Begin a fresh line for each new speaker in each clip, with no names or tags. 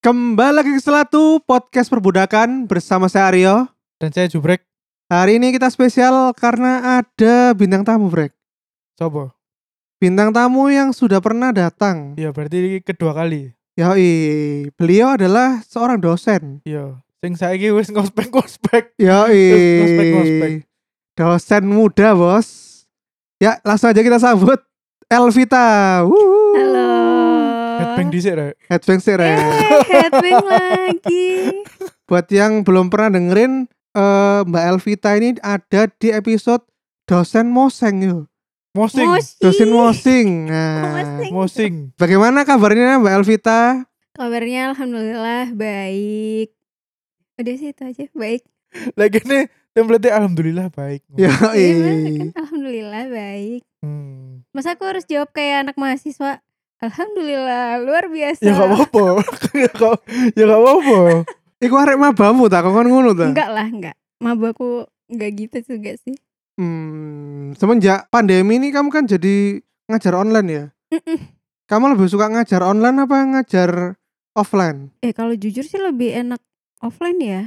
Kembali lagi ke Selatu Podcast Perbudakan bersama saya Aryo.
Dan saya jubrek
Hari ini kita spesial karena ada bintang tamu, Brek.
Sobo
Bintang tamu yang sudah pernah datang.
Iya berarti kedua kali
Yoi, beliau adalah seorang dosen.
Iya Sing saya wis ngospek-ngospek Ngospek, ngospek.
Yoi. Dosen muda, Bos. Ya, langsung aja kita sambut Elvita. Wuhu.
Halo. Oh.
Headbang dhisik rek
Headbang sih, Ren.
Eh, headbang lagi.
ya. Buat yang belum pernah dengerin eh, Mbak Elvita ini ada di episode dosen moseng yuk.
Mosing
Mosi.
Dosen
Oh,
mosing. Nah.
Mosing.
Mosing
Bagaimana kabarnya Mbak Elvita?
Kabarnya alhamdulillah baik. Udah sih itu aja baik.
Lagi ini template alhamdulillah baik
Ya,
Iya, Mas, kan alhamdulillah baik.
hmm.
Masa aku harus jawab kayak anak mahasiswa? Alhamdulillah luar biasa.
Ya gak apa-apa Ya gak- Ya gak apa-apa
Iku arek mabamu tak kok kan ngono ta?
enggak lah, enggak. Mabaku enggak gitu juga sih.
Hmm, semenjak pandemi ini kamu kan jadi ngajar online ya?
Mm-mm.
Kamu lebih suka ngajar online apa ngajar offline?
Eh kalau jujur sih lebih enak offline ya.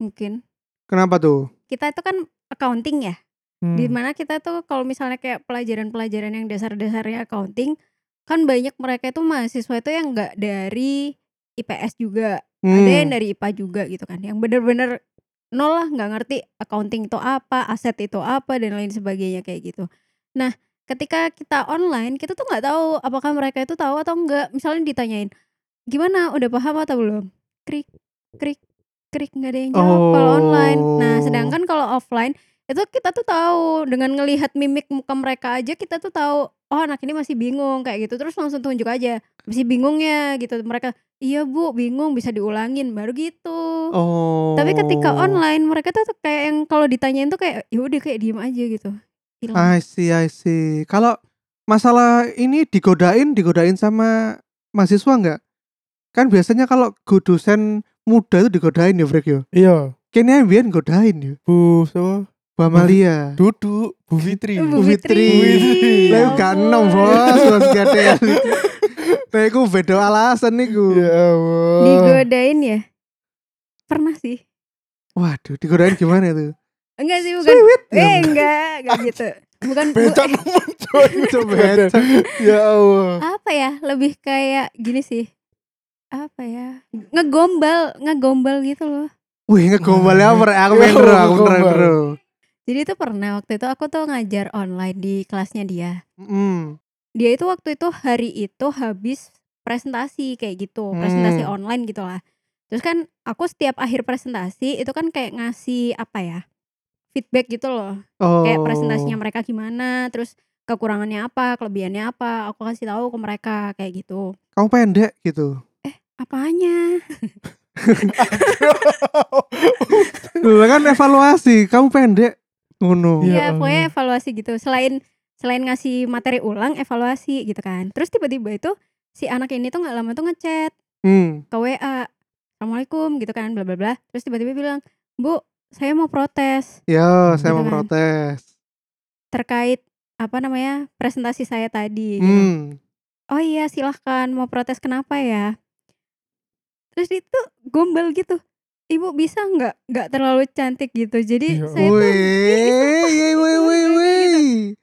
Mungkin.
Kenapa tuh?
Kita itu kan accounting ya.
Hmm.
di mana kita tuh kalau misalnya kayak pelajaran-pelajaran yang dasar-dasarnya accounting kan banyak mereka itu mahasiswa itu yang nggak dari IPS juga ada yang
Hmm,
dari IPA juga gitu kan yang bener-bener nol lah nggak ngerti accounting itu apa aset itu apa dan lain sebagainya kayak gitu nah ketika kita online kita tuh nggak tahu apakah mereka itu tahu atau enggak misalnya ditanyain gimana udah paham atau belum krik krik krik nggak ada yang jawab kalau online nah
Oh.
sedangkan kalau offline itu kita tuh tahu dengan ngelihat mimik muka mereka aja kita tuh tahu oh anak ini masih bingung kayak gitu terus langsung tunjuk aja masih bingungnya gitu mereka iya bu bingung bisa diulangin baru gitu
Oh.
tapi ketika online mereka tuh kayak yang kalau ditanyain tuh kayak ya udah kayak diem aja gitu hilang
I see, I see. Kalau masalah ini digodain, digodain sama mahasiswa nggak? Kan biasanya kalau gu- dosen muda itu digodain ya, Brek yo.
Iya
Kayaknya biar godain ya.
Bu so,
Bu Amalia.
Duduk Bu Fitri
Eh, Bu
Fitri.
Fitri.
Lah
Iya.
Ya
iku gak enom, Bos, Bos gadean. Lah iku beda alasan niku.
Ya Allah
digodain ya pernah sih
Waduh, digodain gimana itu?
enggak sih bukan eh enggak enggak gitu bukan bu-
Becak
eh,
nemen coy
Coba
Digodain. Ya Allah
apa ya lebih kayak gini sih apa ya ngegombal ngegombal gitu loh
Wih, ngegombalnya apa? Rek? Aku pengen
Yo,
ro, aku pengen
Iya. ngegombal.
ro.
Jadi itu pernah waktu itu aku tuh ngajar online di kelasnya dia.
Mm.
Dia itu waktu itu hari itu habis presentasi kayak gitu, presentasi
Hmm.
online gitu lah. Terus kan aku setiap akhir presentasi itu kan kayak ngasih apa ya? feedback gitu loh.
Oh.
Kayak presentasinya mereka gimana, terus kekurangannya apa, kelebihannya apa, aku kasih tahu ke mereka kayak gitu.
Kamu pendek gitu.
Apanya?
Lah kan evaluasi, kamu pendek. Ngono.
Iya.
Iya,
Allah.
pokoknya evaluasi gitu. Selain selain ngasih materi ulang, evaluasi gitu kan. Terus tiba-tiba itu si anak ini tuh nggak lama tuh ngechat
Hmm.
ke WA assalamualaikum gitu kan bla bla bla terus tiba-tiba bilang bu saya mau protes
Mm.
Yo, saya mau
Gitu kan.
protes.
terkait apa namanya presentasi saya tadi gitu.
Hmm.
oh iya silahkan mau protes kenapa ya terus itu gombal gitu ibu bisa nggak nggak terlalu cantik gitu jadi
Ya
saya tuh
Wih, yey, wih, wih, wih.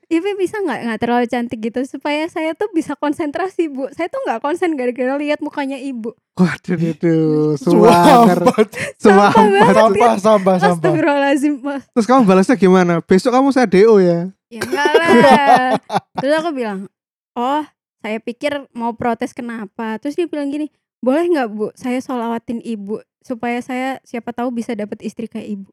ibu bisa nggak nggak terlalu cantik gitu supaya saya tuh bisa konsentrasi bu saya tuh nggak konsen gara-gara lihat mukanya ibu
Waduh, duduh, suar. Sumpah.
Sumpah
Sampah banget.
Sampah Sampah Sampah
Astagfirullahaladzim Mas.
Terus kamu balasnya gimana? Besok kamu saya DO ya?
Ya enggak lah. Terus aku bilang, oh saya pikir mau protes kenapa. Terus dia bilang gini, boleh nggak bu, saya sholawatin ibu supaya saya siapa tahu bisa dapat istri kayak ibu.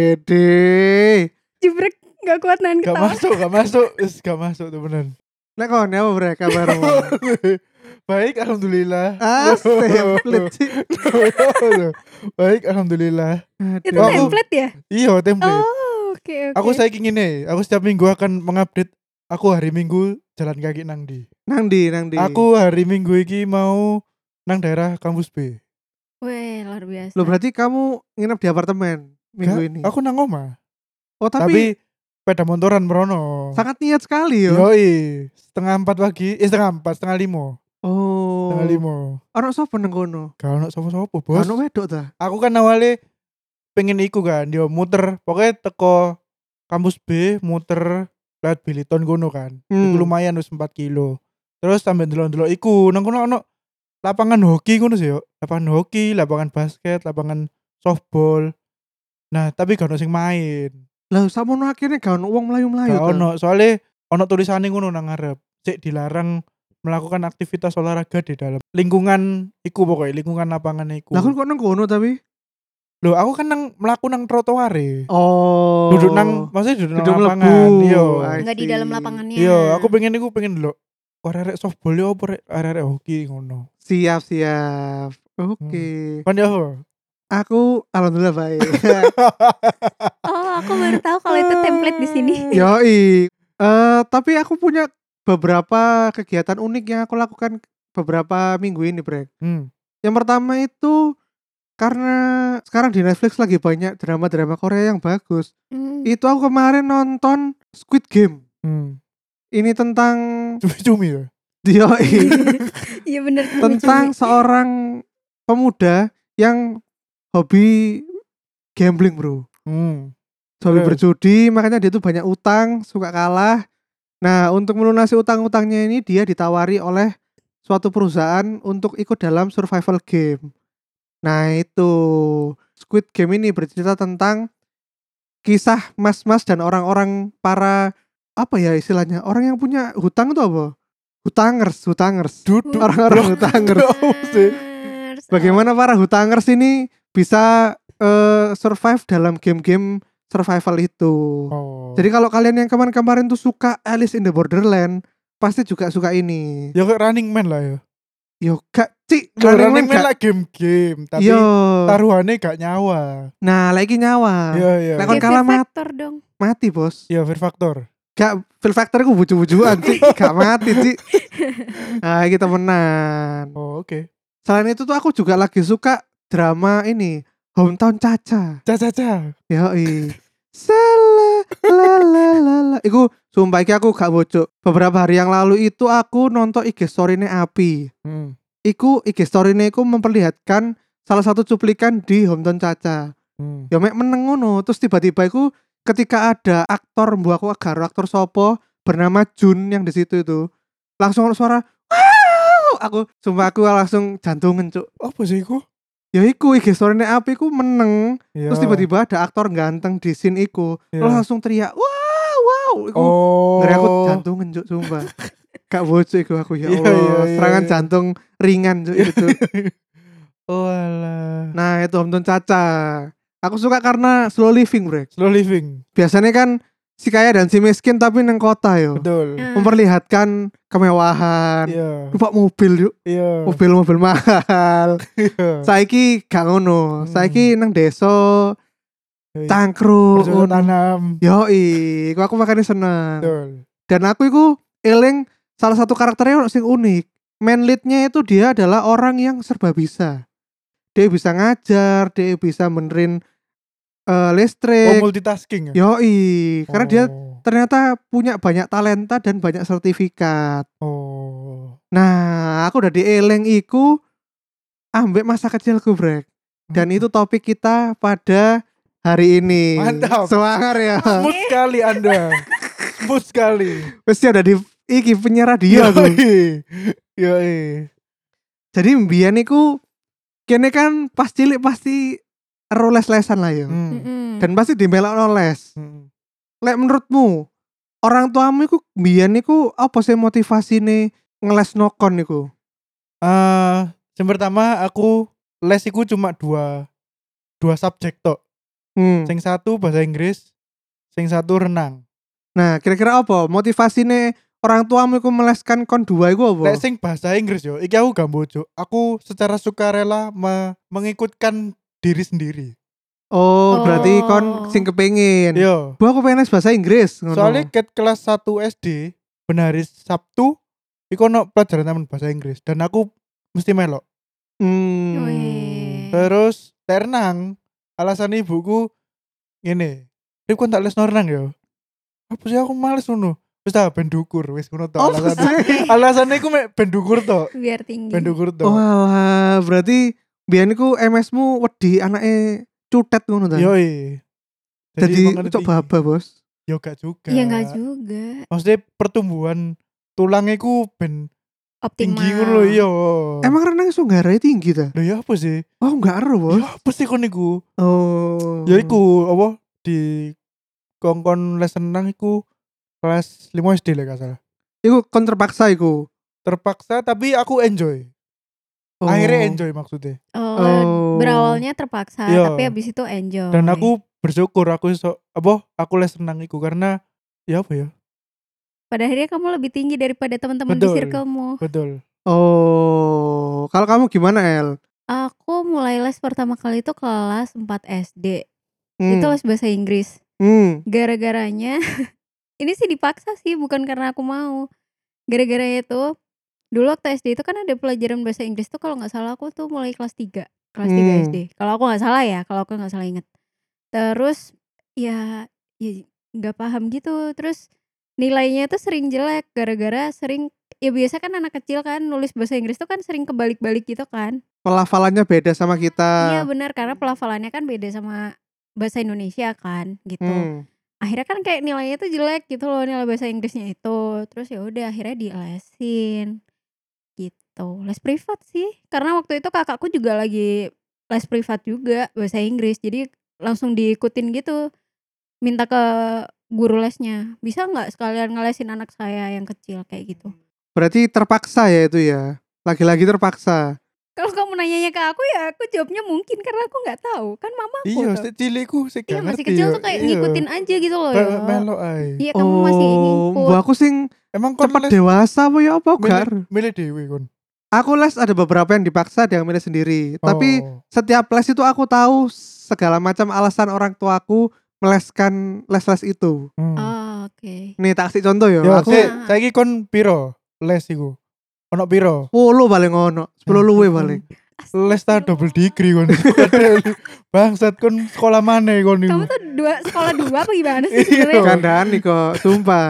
Wede.
Jebrek nggak kuat nahan
Gak
ketawa.
masuk, gak masuk, Is, gak masuk tuh bener.
Nek kon apa bre kabarmu?
Baik, alhamdulillah.
Asep lecik.
Baik, alhamdulillah.
Itu
Aku-
template ya?
Iya, template.
Oh oke oke.
Aku saya ingin nih, aku setiap minggu akan mengupdate. Aku hari minggu jalan kaki nang di.
Nang di, nang di.
Aku hari minggu iki mau nang daerah kampus B.
Weh luar biasa.
Lo berarti kamu nginep di apartemen minggu
Gak,
ini.
Aku nang oma.
Oh, tapi,
Tapi, sepeda motoran merono.
sangat niat sekali ya.
Yoi, setengah empat pagi, eh setengah empat, setengah lima.
Oh.
Tanggal lima.
Ono sapa nang kono?
Gak ono sapa-sapa, Bos.
Ono wedok ta?
Aku kan awalnya pengen iku kan, dia muter. Pokoknya teko kampus B muter lewat Biliton gono kan.
Hmm.
Iku lumayan wis 4 kilo. Terus sampe ndelok-ndelok iku, nang kono ono lapangan hoki ngono sih yo. Lapangan hoki, lapangan basket, lapangan softball. Nah, tapi gak ono sing main.
Lah samono akhirnya gak ono wong mlayu-mlayu
Gak
ta?
ono, soalnya ono tulisannya ngono nang ngarep. Cek dilarang melakukan aktivitas olahraga di dalam lingkungan iku pokoknya lingkungan lapangan iku.
Lah kon kok nang kono tapi?
Loh, aku kan nang melaku nang trotoar e.
Oh.
Duduk nang maksudnya duduk,
Duduk
nang
mlebu.
lapangan. Iya.
Ay.
Enggak di
see.
dalam lapangannya.
Iya, aku pengen iku pengen lho. Arek-arek softball yo apa arek- arek-arek hoki ngono. Kan ya
Siap, siap.
Hmm.
Oke.
Pan yo.
Aku alhamdulillah baik.
Oh, aku baru tahu kalau itu template di sini.
Iya. Yoi. Eh tapi aku punya beberapa kegiatan unik yang aku lakukan beberapa minggu ini, Brek.
Hmm.
Yang pertama itu karena sekarang di Netflix lagi banyak drama-drama Korea yang bagus.
Hmm.
Itu aku kemarin nonton Squid Game.
Hmm.
Ini tentang
Cumi-cumi ya.
Yoi.
Iya bener cumi-cumi.
tentang seorang pemuda yang hobi gambling bro
Hmm.
hobi
Terus?
berjudi makanya dia tuh banyak utang suka kalah nah untuk melunasi utang-utangnya ini dia ditawari oleh suatu perusahaan untuk ikut dalam survival game nah itu Squid Game ini bercerita tentang kisah mas-mas dan orang-orang para apa ya istilahnya orang yang punya hutang itu apa hutangers hutangers
Duduk.
orang-orang hutangers
sih.
Hutangers.
bagaimana para hutangers ini bisa eh, survive dalam game-game survival itu.
Oh.
Jadi kalau kalian yang kemarin-kemarin tuh suka Alice in the Borderland, pasti juga suka ini.
ya kayak running man lah ya.
Yo gak cik, running man
Running, man
gak- Iya.
lah game-game, tapi
Yo.
taruhannya gak nyawa.
Nah, lagi nyawa.
Iya, iya.
Lah, kon
Kayak
kalah
Fear
mat-
Factor dong.
Mati, Bos.
Iya, fear factor.
Gak Phil Factor ku bucu-bucuan, Cik. Gak mati, Cik. Nah, kita menang.
Oh, oke.
Selain itu tuh aku juga lagi suka drama ini, Hometown Caca.
Caca-caca.
Yoi. Salah la la la la. Iku sumpah iki aku gak bocok. Beberapa hari yang lalu itu aku nonton IG story-ne Api.
Hmm.
Iku IG story-ne iku memperlihatkan salah satu cuplikan di Hometown Caca.
Hmm.
Ya mek meneng ngono, terus tiba-tiba iku ketika ada aktor mbok aku agar aktor sopo bernama Jun yang di situ itu. Langsung ada suara "Wow!" Aku sumpah aku langsung jantungan cuk.
Apa sih iku?
Ya iku IG story-ne Api iku meneng
Iya.
Terus tiba-tiba ada aktor ganteng di scene iku.
Iya.
Terus langsung teriak, "Wow, wow!" Iku
Oh.
ngeri aku jantungan juk sumpah. Kak bocok iku aku ya
Iya,
Allah,
iya, iya,
serangan
iya.
jantung ringan juk itu. Cuk.
Oh alah.
nah, itu Homton Caca. Aku suka karena slow living, Bro.
Slow living.
Biasanya kan si kaya dan si miskin tapi neng kota yo.
Betul.
Nah,
Memperlihatkan kemewahan.
Iya.
Numpak mobil yuk,
Iya.
Uh, mobil-mobil mahal.
Iya.
Saiki gak ngono.
Hmm.
Saiki nang desa
Iya.
cangkruk.
Bercocok
ngono.
tanam.
Yoi, iku aku makanya seneng.
Betul.
Dan aku itu eling salah satu karakternya ono sing unik. Main leadnya itu dia adalah orang yang serba bisa. Dia bisa ngajar, dia bisa benerin eh,
Oh
listrik.
multitasking ya.
Yoi, karena
Oh.
dia ternyata punya banyak talenta dan banyak sertifikat.
Oh.
Nah, aku udah dieling iku ambek masa kecilku, Brek. Dan
Hmm.
itu topik kita pada hari ini.
Mantap.
Semangat ya.
Iya.
smooth sekali Anda. smooth sekali.
Pasti ada di iki penyiar radio aku.
Iya.
jadi mbiyen iku kene kan pas cilik pasti ero les-lesan lah ya.
Hmm.
mm-mm.
Dan pasti dimelokno les.
Hmm.
Lek menurutmu orang tuamu iku mbiyen iku apa sih motivasine ngeles nokon iku?
Eh, yang pertama aku les iku cuma dua dua subjek tok.
Hmm.
Sing satu bahasa Inggris, sing satu renang.
Nah, kira-kira apa motivasine orang tuamu iku meleskan kon dua iku
Lek
apa?
sing bahasa Inggris yo, iki aku gak bojo. Aku secara sukarela me- mengikutkan diri sendiri.
Oh, berarti
Oh.
kon sing kepengin.
Yo.
Bu aku pengen les bahasa Inggris ngono.
Iya. Soalnya ket kelas 1 SD, benar hari Sabtu iku ono pelajaran taman bahasa Inggris dan aku mesti melok.
Hmm.
Wih.
Terus lek renang, alasan ibuku ngene. Rip kon tak les renang yo. Apa sih ya?" aku males ngono. Terus tak ben dukur wis ngono to.
Oh,
Alasan
maksudnya-
alasane iku mek ben dukur to.
biar tinggi
Ben dukur to.
Oh, Walah, berarti biyen iku MS-mu wedi anake cutet ngono
Iya,
ta.
Yoi.
Jadi Iya,
mengerti.
cok baba, Bos.
Yo gak juga.
ya nggak juga
Maksudnya pertumbuhan tulangnya ku ben
optimal
tinggi ngono lho iya.
Emang renang iso nggarai tinggi ta?
Lho ya apa sih?
Oh, enggak ero, Bos.
Ya apa sih kon iku?
Oh.
Hmm.
Ya iku apa di kongkon les renang iku kelas 5 SD lah gak salah.
Iku kon terpaksa iku.
Terpaksa tapi aku enjoy.
Oh.
Akhirnya enjoy maksudnya.
Oh,
Oh.
berawalnya terpaksa
Iya.
tapi habis itu enjoy
Dan aku bersyukur aku iso apa aku les renang iku karena ya apa ya?
pada akhirnya kamu lebih tinggi daripada teman-teman di
Betul.
circlemu
Betul.
Oh. Kalau kamu gimana, El?
aku mulai les pertama kali itu kelas 4 SD
Hmm.
itu les bahasa Inggris
Hmm.
gara-garanya ini sih dipaksa sih bukan karena aku mau gara-garanya itu dulu waktu SD itu kan ada pelajaran bahasa Inggris tuh kalau nggak salah aku tuh mulai kelas 3 kelas 3
Hmm.
SD kalau aku nggak salah ya kalau aku nggak salah inget terus ya ya nggak paham gitu terus nilainya tuh sering jelek gara-gara sering ya biasa kan anak kecil kan nulis bahasa Inggris tuh kan sering kebalik-balik gitu kan
Pelafalannya beda sama
iya
kita.
benar karena pelafalannya kan beda sama bahasa Indonesia kan gitu
Hmm.
akhirnya kan kayak nilainya tuh jelek gitu loh nilai bahasa Inggrisnya itu terus ya udah akhirnya dilesin gitu les privat sih karena waktu itu kakakku juga lagi les privat juga bahasa Inggris jadi langsung diikutin gitu minta ke guru lesnya bisa nggak sekalian ngelesin anak saya yang kecil kayak
Hmm.
gitu
Berarti terpaksa ya itu ya. Lagi-lagi terpaksa.
kalau kamu nanyanya ke aku ya aku jawabnya mungkin karena aku nggak tahu kan mamaku
Iya,
tuh.
sik cilik ku sik
iya
gak
masih
ngerti
kecil
ya.
tuh kayak
Iya.
ngikutin aja gitu loh
Kayak
ya
Melok ae.
iya kamu
oh,
masih ngikut
mbak aku sing
Emang kon
cepet
les
dewasa apa ya apa, Gar?
milih dhewe kon.
Aku les ada beberapa yang dipaksa ada yang milih sendiri. Tapi
Oh.
setiap les itu aku tahu segala macam alasan orang tuaku meleskan les-les itu.
Hmm.
Oh, oke
Nih tak kasih contoh ya.
Yo,
aku
sik, saiki kon piro les iku? Ono piro?
10 paling ono, 10 luwe paling.
Les ta double degree kon. Bangsat kon sekolah mana kon iku?
Kamu tuh dua sekolah dua apa gimana sih sebenarnya?
Iya.
Kandaan nih kok, sumpah.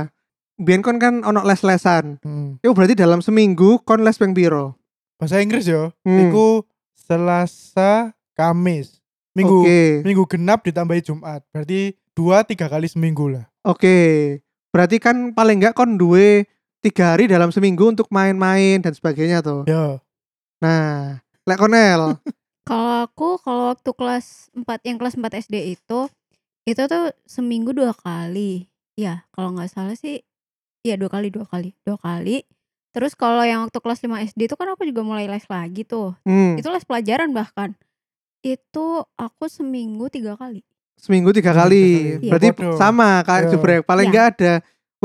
Biyen kon kan ono les-lesan.
Hmm.
Itu berarti dalam seminggu kon les ping piro?
Bahasa Inggris yo.
Hmm.
Iku Selasa, Kamis. Minggu
Oke.
minggu genap ditambahi Jumat. Berarti dua tiga kali seminggu lah.
Oke. Berarti kan paling enggak kon duwe tiga hari dalam seminggu untuk main-main dan sebagainya tuh.
Yo.
Nah, lek konel.
Kalau aku kalau waktu kelas 4 yang kelas 4 SD itu itu tuh seminggu dua kali. Ya, kalau nggak salah sih ya dua kali, dua kali, dua kali. Terus kalau yang waktu kelas 5 SD itu kan aku juga mulai les lagi tuh.
Hmm.
Itu les pelajaran bahkan. Itu aku seminggu tiga kali.
Seminggu tiga
Seminggu
kali.
tiga kali.
Berarti
Waduh.
sama kayak
Iya.
jebrek. Paling
Iya.
enggak ada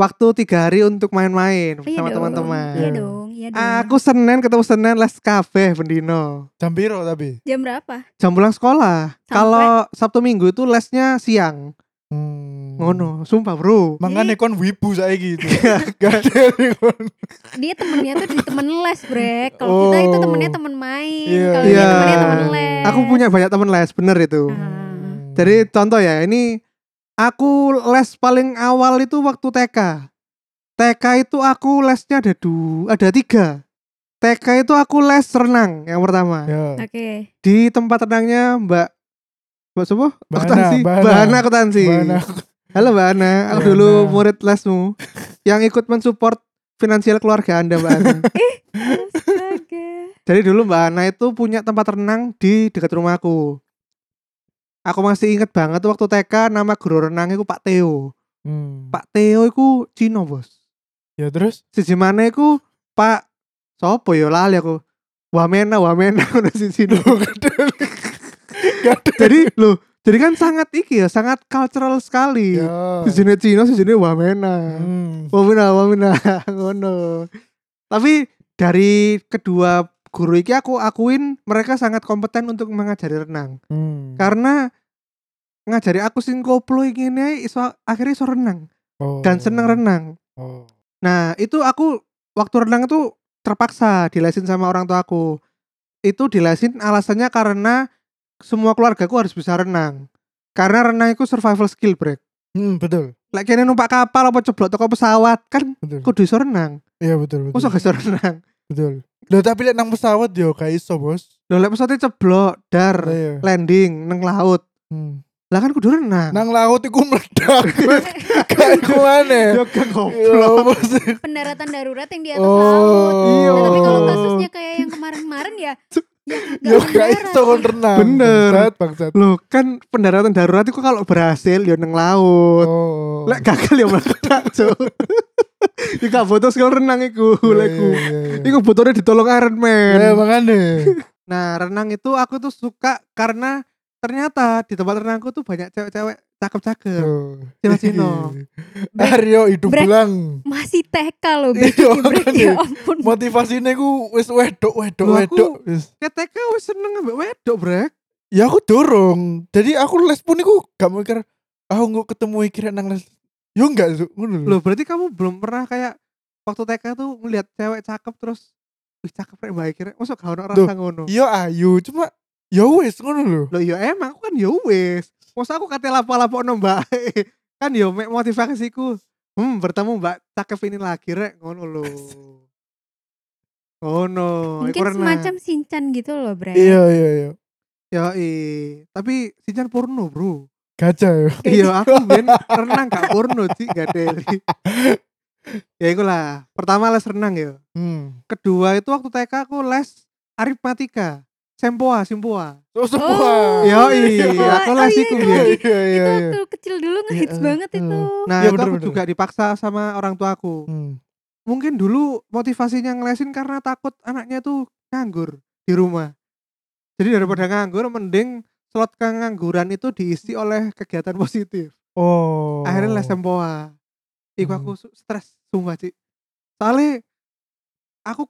waktu tiga hari untuk main-main
Iya
sama
dong,
teman-teman.
Iya dong, iya dong.
Aku Senin ketemu Senin les kabeh Bendino.
Jam piro tapi?
Jam berapa?
Jam pulang sekolah.
Sampai-
Kalau Sabtu Minggu itu lesnya siang.
Hmm.
Ngono, Iya. sumpah bro.
Makanya kon wibu saiki gitu. Gak ada yang kon.
dia temennya tuh di temen les brek kalau kita itu
Oh.
temennya temen main
Iya,
kalau dia
iya.
temennya temen les
Aku punya banyak teman les, bener itu.
Ah.
Jadi contoh ya, ini aku les paling awal itu waktu TK. TK itu aku lesnya ada du, ada tiga. TK itu aku les renang yang pertama
Yo.
oke
di tempat renangnya Mbak Mbak siapa?
Mbak Ana,
Akuntansi.
Mbak Ana.
Mbak Ana akuntansi.
Mana?
Halo Mbak Ana, aku
Mbak
dulu
Ana.
murid lesmu yang ikut mensupport finansial keluarga Anda Mbak Ana.
astaga
Jadi dulu Mbak Ana itu punya tempat renang di dekat rumahku. Aku masih inget banget waktu TK nama guru renangnya itu Pak Teo.
Hmm.
Pak Teo itu Cino bos.
Ya terus
Siji mana itu Pak Sopo ya lali aku. Wamena, wamena udah si Cino. jadi loh, jadi kan sangat iki ya, sangat cultural sekali.
ya.
Sejene Cino, sejene wamena.
Hmm.
Wamena, wamena, ngono. Tapi dari kedua guru iki aku akuin mereka sangat kompeten untuk mengajari renang.
Hmm.
Karena ngajari aku sing koplo iki ngene iso akhirnya iso renang
Oh.
dan seneng renang.
Oh.
Nah, itu aku waktu renang itu terpaksa dilesin sama orang tua aku. Itu dilesin alasannya karena semua keluargaku harus bisa renang. Karena renang itu survival skill break.
Hmm, betul.
Lek kene numpak kapal apa ceblok toko pesawat kan
Betul.
kudu iso renang.
Iya, betul, betul.
Mosok gak iso renang.
Betul. Loh, tapi lihat nang pesawat yo kayak iso, Bos.
Lho lek pesawatnya ceblok dar
Iya.
landing neng laut.
Hmm.
Lah kan kudu renang.
Nang laut iku meledak. Kayak gimana?
Yo gak
Iya,
goblok.
Bos.
pendaratan darurat yang di atas laut.
Oh.
Iya.
Nah, tapi kalau
Oh.
kasusnya kayak yang kemarin-kemarin ya, ya
Yo
nggak
kayak
mendarat.
iso kon renang.
Bener.
Bangsat, bangsat.
Loh kan pendaratan darurat itu kalau berhasil yo neng laut.
Oh.
Lek gagal ya meledak, Cuk. Iku gak foto skill renang
Iya,
iku, lek iku. Iku butuhnya ditolong Iron Man.
Ya makanya.
Iya, Nah, renang itu aku tuh suka karena ternyata di tempat renangku tuh banyak cewek-cewek cakep-cakep. Cina Cina.
Break-
Aryo hidup
break.
bilang.
masih TK loh, Bek.
Iya,
Break,
makanya.
ya ampun.
Motivasinya ku wis wedok wedok
Loh, aku-
wedok. Wis.
Ketika wis seneng ambek wedok, Brek.
Ya aku dorong. Jadi aku les pun aku gak mikir aku nggak ketemu iki rek nang les. Yo enggak Zuk. ngono lho.
Loh, berarti kamu belum pernah kayak waktu TK tuh ngeliat cewek cakep terus wih cakep rek baik rek. Masuk gak ono rasa
Loh.
ngono.
Yo ayu cuma yo wis ngono lho.
Loh, ya emang aku kan ya wis. Masa aku kate lapo-lapokno Mbak. kan yo mek motivasiku. Hmm, bertemu Mbak cakep ini lagi rek ngono lho. Ngono, iku
Mungkin
renang.
semacam Sinchan gitu loh, Bre.
Iya iya iya.
Ya, tapi Sinchan porno, Bro.
Gajah yo.
Iya, aku ben renang gak porno, Ci, gak deli. ya ikulah. Pertama les renang ya.
Hmm.
Kedua itu waktu TK aku les aritmatika. Sempoa, simpoa.
Terus
Oh.
semua.
Yoi,
Sempoa.
aku
Oh,
les
iya,
iku
iya,
biyen.
iya.
Iya iya
Itu
iya.
waktu kecil dulu ngehits
Iya,
banget
iya.
itu.
Nah,
Iya,
itu aku
bener-bener.
juga dipaksa sama orang tuaku.
Hmm.
Mungkin dulu motivasinya ngelesin karena takut anaknya tuh nganggur di rumah. Jadi daripada nganggur mending slot kengangguran itu diisi oleh kegiatan positif.
Oh.
akhirnya les sempoa iku
Hmm.
aku su- stres sumpah cik soalnya aku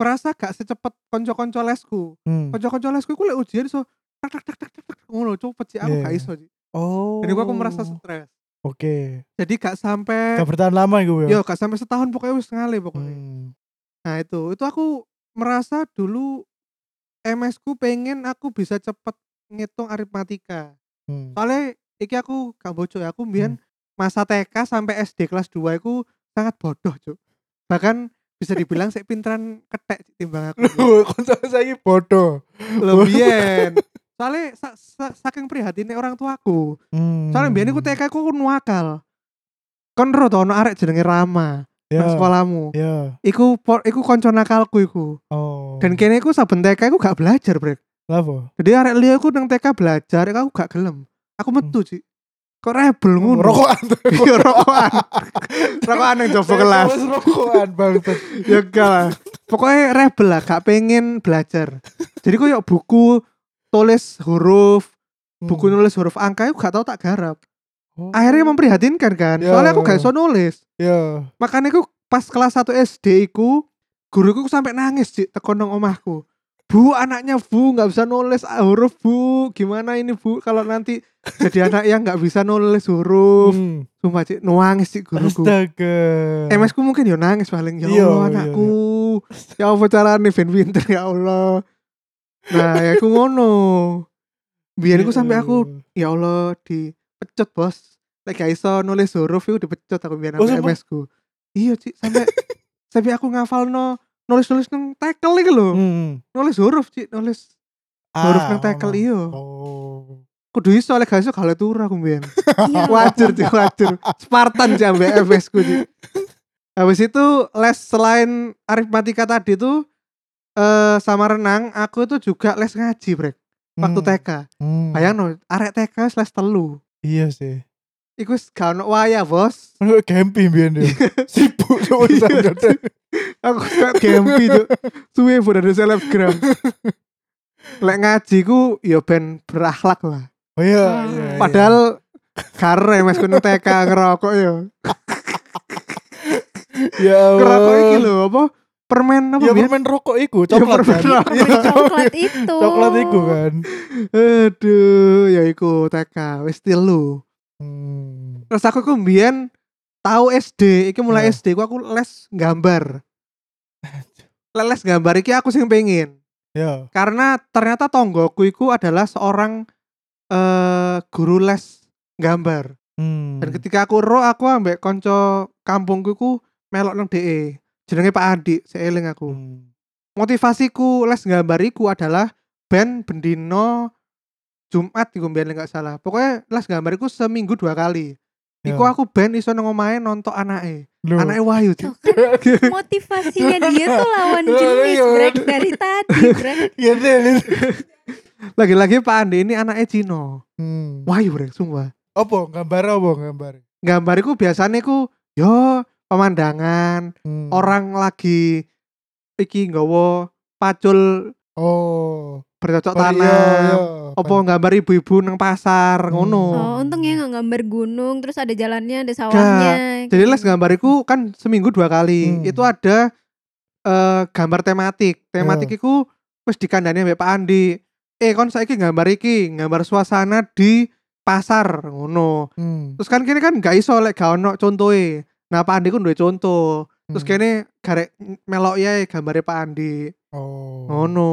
merasa gak secepat konco-konco lesku
Hmm.
konco-konco lesku aku lek ujian so tak tak tak tak tak tak ngono cepet cik aku
Iya.
gak iso cik
Oh.
jadi aku merasa stres
Oke.
jadi gak sampai
Gak bertahan lama gue
yo gak sampai setahun pokoknya wis ngale pokoknya
Hmm.
nah itu itu aku merasa dulu MS ku pengen aku bisa cepet ngitung aritmatika
Hmm.
soalnya iki aku gak bocor ya, aku mbiyen masa TK sampai SD kelas 2 aku sangat bodoh cuk bahkan bisa dibilang saya pinteran ketek timbang aku
Loh, kon saiki bodoh.
lo biyen soalnya sa- sa- saking prihatinnya orang tuaku
Hmm.
soalnya biyen aku TK aku nuakal kon ro to ono arek jenenge Rama
ya.
nang sekolahmu
Ya.
iku po- iku konco nakalku iku
Oh.
dan kene iku saben TK aku gak belajar brek
Lapo?
jadi arek liya aku nang TK belajar aku gak gelem aku
Hmm.
metu sih kok
Oh,
rebel ngono
Rokokan.
Iya rokokan. rokokan yang coba kelas.
Terus Rokokan banget.
Ya enggak lah. Pokoknya rebel lah, gak pengen belajar. Jadi kok yuk buku tulis huruf,
Hmm.
buku nulis huruf angka itu gak tau tak garap.
Oh.
Akhirnya memprihatinkan kan.
Hmm. Ya.
Soalnya aku gak iso nulis.
Ya.
Makanya aku pas kelas 1 SD ku, guruku sampai nangis sih tekonong omahku. Bu anaknya bu nggak bisa nulis ah, huruf bu gimana ini bu kalau nanti jadi anak yang nggak bisa nulis huruf
Hmm.
sumpah cik nangis sih guruku
Astaga.
MS ku Eh, mungkin yo nangis paling ya
Iya,
Allah
iya,
anakku. Ya apa carane ben pinter ya Allah. Nah, ya aku ngono. Biar aku sampai aku
Hmm.
ya
Iya.
Allah dipecut bos. Lek gak iso nulis huruf itu dipecut aku biar
Oh,
sampai
sumpah?
MS ku. Iya, Cik, sampai sampai aku ngafalno nulis-nulis nang tekel iki lho.
Hmm. Ah,
Nulis huruf, Cik, nulis huruf nang tekel
ono.
iya.
Oh.
Kudu iso lek gak iso gak oleh turu aku biyen.
Iya.
wajar sih wajar Spartan sih ambek FS ku sih habis itu les selain aritmatika tadi tuh eh sama renang aku tuh juga les ngaji brek waktu
Hmm.
TK
Hmm.
bayang no arek TK wis les telu
Iya sih.
iku wis gak ono waya bos
Lu camping biyen dia. Sibuk cuma
Iya.
sangat.
aku suka gempi tuh suwe udah ada selebgram lek ngaji ku ya ben berakhlak lah
Oh iya,
Ah.
iya, iya.
padahal kare mas kuno TK ngerokok ya
Oh. ya
ngerokok iki
Allah.
lho apa permen apa
Ya
biyen?
permen rokok iku, coklat.
permen
kan?
rokok. Oh.
Iya,
Coklat itu.
Coklat iku kan.
Aduh, ya iku TK wis tilu.
Hmm.
Terus aku ku mbiyen tau SD, iki mulai
Iya.
SD ku aku les gambar. Lek Les gambar iki aku sing pengen.
Ya.
Karena ternyata tonggoku iku adalah seorang eh guru les gambar.
Hmm.
Dan ketika aku ro aku ambek konco kampungku ku melok nang DE. Jenenge Pak Andi, seeling aku.
Hmm.
Motivasiku les gambariku adalah ben bendino Jumat iku mbiyen nggak salah. Pokoknya les gambariku seminggu dua kali.
Ya.
Iku aku ben iso nang omahe nonton anake.
Loh.
Anake wayu, Cuk.
Tuh kan motivasinya dia tuh lawan jenis Greg dari tadi Greg
Iya, iya, iya.
Lagi-lagi Pak Andi ini anaknya Cino.
Hmm.
Wayu rek sumpah.
Apa gambar apa gambar?
Gambariku biasanya ku yo pemandangan
Hmm.
orang lagi iki nggawa pacul
Oh.
bercocok
Oh, iya,
tanam.
iya.
Apa gambar ibu-ibu nang pasar
Hmm.
ngono.
oh untung ya nggak gambar gunung terus ada jalannya ada sawahnya
Jadi
gitu.
les gambariku kan seminggu dua kali.
Hmm.
Itu ada eh, gambar tematik.
Ya.
Tematik iku wis dikandani mbek Pak Andi. Eh kon saiki gambar iki, gambar suasana di pasar ngono.
Hmm.
Terus kan kene kan gak iso lek gak ono contohe. Nah Pak Andi ku duwe contoh. Terus
Hmm.
kene garek melok ya gambare Pak Andi.
Oh.
Ngono.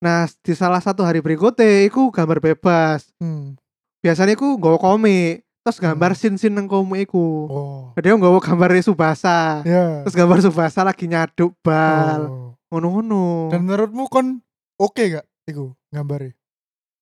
Nah, di salah satu hari berikutnya iku gambar bebas.
Hmm.
Biasanya iku nggawa komik, terus gambar sin-sin nang komik iku.
Oh.
Dia nggak mau gambar Subasa.
Ya.
Terus gambar Subasa lagi nyaduk bal.
Oh.
Ngono-ngono.
Dan menurutmu kon oke gak iku gambare?